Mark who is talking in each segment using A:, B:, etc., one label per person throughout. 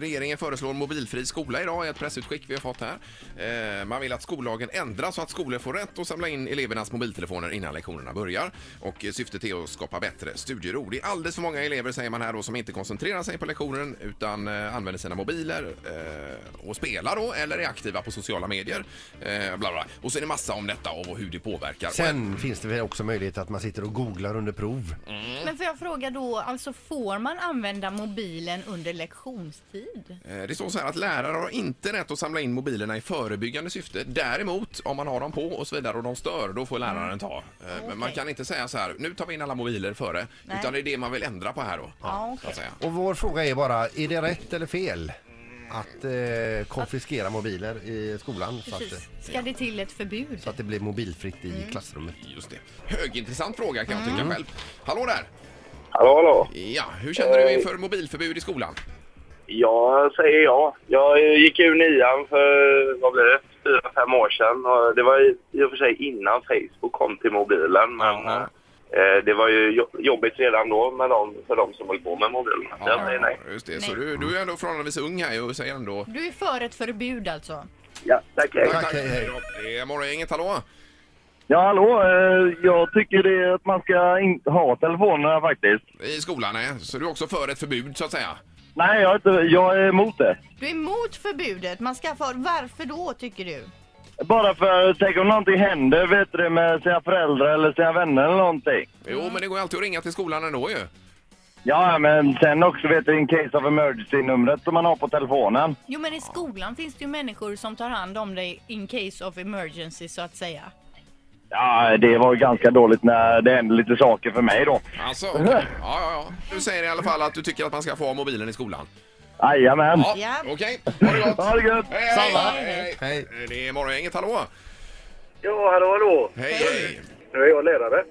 A: Regeringen föreslår mobilfri skola idag i ett pressutskick vi har fått här. Eh, Man vill att skollagen ändras så att skolor får rätt att samla in elevernas mobiltelefoner innan lektionerna börjar. Och eh, syftet är att skapa bättre studiero. Det är alldeles för många elever, säger man här, då, som inte koncentrerar sig på lektionen utan eh, använder sina mobiler eh, och spelar då, eller är aktiva på sociala medier. Eh, Bla bla. Och så är det massa om detta och hur det påverkar.
B: Sen finns det väl också möjlighet att man sitter och googlar under prov.
C: Men får jag fråga då, alltså får man använda mobilen under lektionstid?
A: Eh, Det står så här att lärare har inte rätt att samla in mobilerna i förebyggande syfte. Däremot, om man har dem på och så vidare och de stör, då får läraren ta. Eh, Men man
C: Mm. Okej.
A: kan inte säga så här, nu tar vi in alla mobiler före.
C: Nej.
A: Utan det är det man vill ändra på här då.
C: Ja,
A: så att
C: okej.
A: säga.
B: Och vår fråga är bara, är det rätt eller fel att eh, konfiskera mobiler i skolan så att,
C: Precis. Ska det till ett förbud?
B: så att det blir mobilfritt i klassrummet?
A: Just det. Högintressant fråga kan
C: Mm.
A: jag tycka själv. Hallå där!
D: Hallå, hallå.
A: Ja, hur känner du inför mobilförbud i skolan?
D: Jag säger ja. Jag eh, gick ur nian för, vad blir det, fyra, fem år sedan. Och det var i i och för sig innan Facebook kom till mobilen, men
A: Ja.
D: eh, det var ju jo- jobbigt redan då med dem, för de som höll på med mobilen. Så jag säger nej.
A: Just det. Så
C: Nej.
A: du, du är ändå förhållandevis ung här och säger ändå...
C: Du är för ett förbud alltså?
D: Ja, tack.
B: Tack, hej, hej.
A: då. Det är Morgongänget, hallå!
D: Ja, hallå. eh, Jag tycker det att man ska inte ha telefonerna faktiskt.
A: I skolan, nej. Så du är också för ett förbud så att säga?
D: Nej, jag är, inte, jag är emot det.
C: Du är emot förbudet, man ska för... Varför då tycker du?
D: Bara för, tänk om någonting händer, vet du med sina föräldrar eller sina vänner eller någonting.
C: Mm.
A: Jo, men det går ju alltid att ringa till skolan ändå ju.
D: Ja, men sen också vet du in case of emergency-numret som man har på telefonen.
C: Jo men i skolan finns det ju människor som tar hand om dig in case of emergency så att säga.
D: Ja, det var ju ganska dåligt när det hände lite saker för mig då.
A: Alltså, okej. ja, ja, ja. Du säger i alla fall att du tycker att man ska få ha mobilen i skolan.
D: Jajamän.
A: Ja,
C: Ja.
A: okej. Ha det gott!
D: Ha det gött!
A: Hej,
B: Samma.
A: hej, hej.
B: Hej.
A: Det är Morgongänget, hallå!
E: Ja, hallå, hallå.
A: Hej, hej!
E: Nu är jag lärare.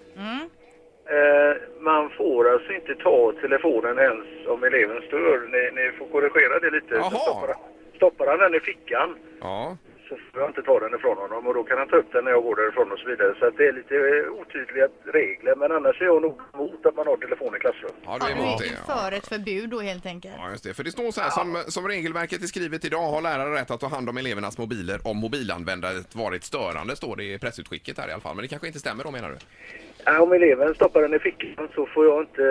E: Eh, man får alltså inte ta telefonen ens om eleven stör. Ni, ni får korrigera det lite.
A: Jaha.
E: Så Stoppar, han- stoppar han den i fickan
A: Ja,
E: så får jag inte ta den ifrån honom och då kan han ta upp den när jag går därifrån och så vidare. Så att det är lite eh, otydliga regler men annars är jag nog emot att man har telefon i klassrum.
A: ja du
C: Ja,
A: är
C: du
A: emot
C: är
A: det.
C: ju
A: ja.
C: för ett förbud då helt enkelt.
A: Ja, just det. För det står så här, som, som regelverket är skrivet idag har lärare rätt att ta hand om elevernas mobiler om mobilanvändandet varit störande, står det i pressutskicket här i alla fall. Men det kanske inte stämmer då menar du?
E: Eh, Om eleven stoppar den i fickan så får jag inte,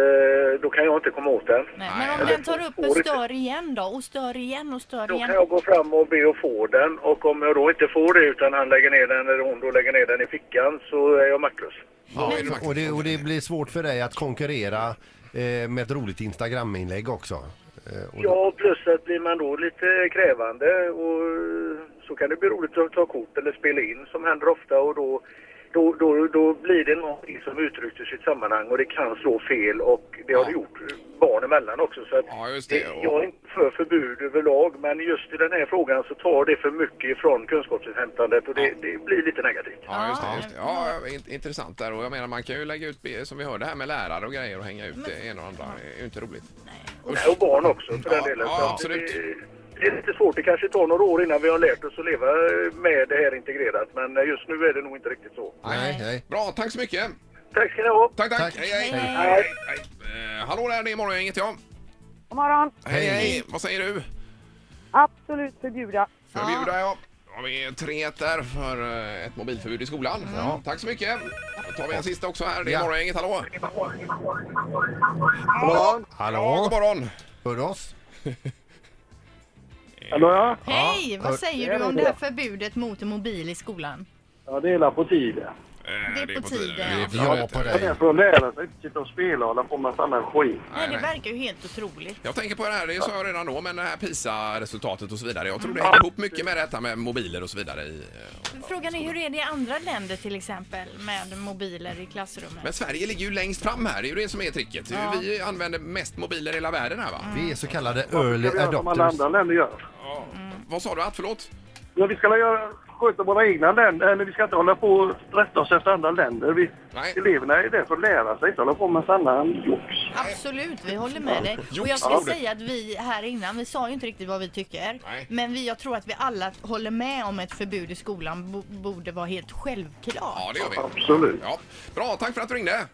E: då kan jag inte komma åt den.
C: Nej,
A: Nej,
C: men om
A: jag
C: den tar upp och
E: Ordet-
C: stör igen då? Och stör igen och stör
E: Då
C: igen?
E: kan jag gå fram och be att få den och om jag då inte får det utan han lägger ner den eller hon då lägger ner den i fickan så är jag maktlös.
A: Ja, är du faktiskt-
B: Och det, och det blir svårt för dig att konkurrera eh, med ett roligt Instagram-inlägg också. Eh, och
E: Ja, plus att blir man då lite krävande och så kan det bli roligt att ta kort eller spela in som händer ofta och då, då, då, då blir det någonting som uttrycks i sitt sammanhang och det kan slå fel och det har
A: Ja.
E: det gjort barn emellan också. Så att
A: Ja, just det. Och-
E: jag är inte för förbud överlag men just i den här frågan så tar det för mycket ifrån kunskapsinhämtandet och det, det blir lite negativt.
A: Ja, just det.
C: Ja.
A: Just det. Ja, int- intressant där. Och jag menar, man kan ju lägga ut, be- som vi hörde här med lärare och grejer och hänga ut det ena och andra. Det är ju inte roligt.
E: Och barn också för den
A: Ja,
E: delen.
A: ja,
E: Så att
A: absolut.
E: Det, det är lite svårt. Det kanske tar några år innan vi har lärt oss att leva med det här integrerat. Men just nu är det nog inte riktigt så.
B: Nej, nej.
A: Bra, tack så mycket!
E: Tack ska ni ha!
A: Tack, tack!
B: Tack.
A: Hej, hej!
C: Hej.
A: hej, hej. Eh, hallå där, det är Morgongänget, ja.
F: God morgon.
A: Hej, hej! Vad säger du?
F: Absolut förbjuda. Ah.
A: Förbjuda, ja. Då har vi tre där för eh, ett mobilförbud i skolan. Ja. Tack så mycket! Då tar vi en sista också här. Det är
B: Ja.
A: Morgongänget, hallå!
B: Hallå?
A: Ja, god
B: Hallå?
A: morgon! Eh,
B: Hör du oss?
E: Hallå ja?
C: Hej! Vad
B: hör-
C: säger du om det här förbudet mot mobil i skolan?
E: Ja, det är la på tiden.
A: Eh, Det
C: på tiden.
A: Det är för
B: Ja
A: rätt.
B: på dig.
E: får lära sig inte sitta och spela och hålla på med samma skit.
C: Nej, det
A: nej.
C: verkar ju helt otroligt.
A: Jag tänker på det här, det sa jag redan då, men det här PISA-resultatet och så vidare. Jag
F: Mm.
A: tror det hänger ihop mycket med detta med mobiler och så vidare. i, eh,
C: Frågan är hur är det i andra länder till exempel med mobiler i klassrummet?
A: Men Sverige ligger ju längst fram här, det är ju det som är tricket. Det är ju Vi använder mest mobiler i hela världen här va?
B: Vi är så kallade early adopters.
E: länder gör.
A: Ja. Mm. Vad sa du att, förlåt?
E: Ja, vi ska göra, sköta våra egna länder. Eller vi ska inte hålla på och rätta oss efter andra länder. Vi,
A: Nej.
E: Eleverna är där för att lära sig, inte hålla på med sådana jox.
C: Absolut, vi håller med dig. Och jag ska
A: Jox.
C: säga att vi här innan, vi sa ju inte riktigt vad vi tycker.
A: Nej.
C: Men vi, jag tror att vi alla håller med om ett förbud i skolan bo- borde vara helt självklart.
A: Ja, det gör vi.
E: Absolut.
A: Ja. Bra, tack för att du ringde.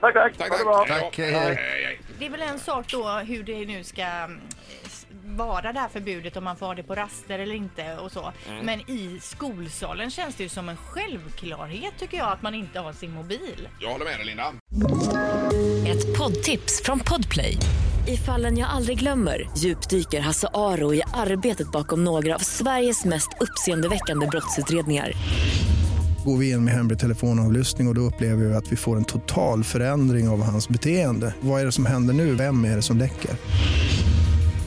E: Tack, tack.
A: Tack,
E: Ha det
A: tack.
E: bra.
B: Tack,
A: Ja.
B: hej, hej.
A: Hej, hej.
C: Det är väl en sak då hur det nu ska mm, s- vara det här förbudet om man får ha det på raster eller inte och så.
A: Mm.
C: Men i skolsalen känns det ju som en självklarhet tycker jag att man inte har sin mobil.
A: Jag håller med dig, Linda.
G: Ett poddtips från Podplay. I fallen jag aldrig glömmer djupdyker Hasse Aro i arbetet bakom några av Sveriges mest uppseendeväckande brottsutredningar.
H: Går vi in med hemlig telefonavlyssning och, och då upplever vi att vi får en total förändring av hans beteende. Vad är det som händer nu? Vem är det som läcker?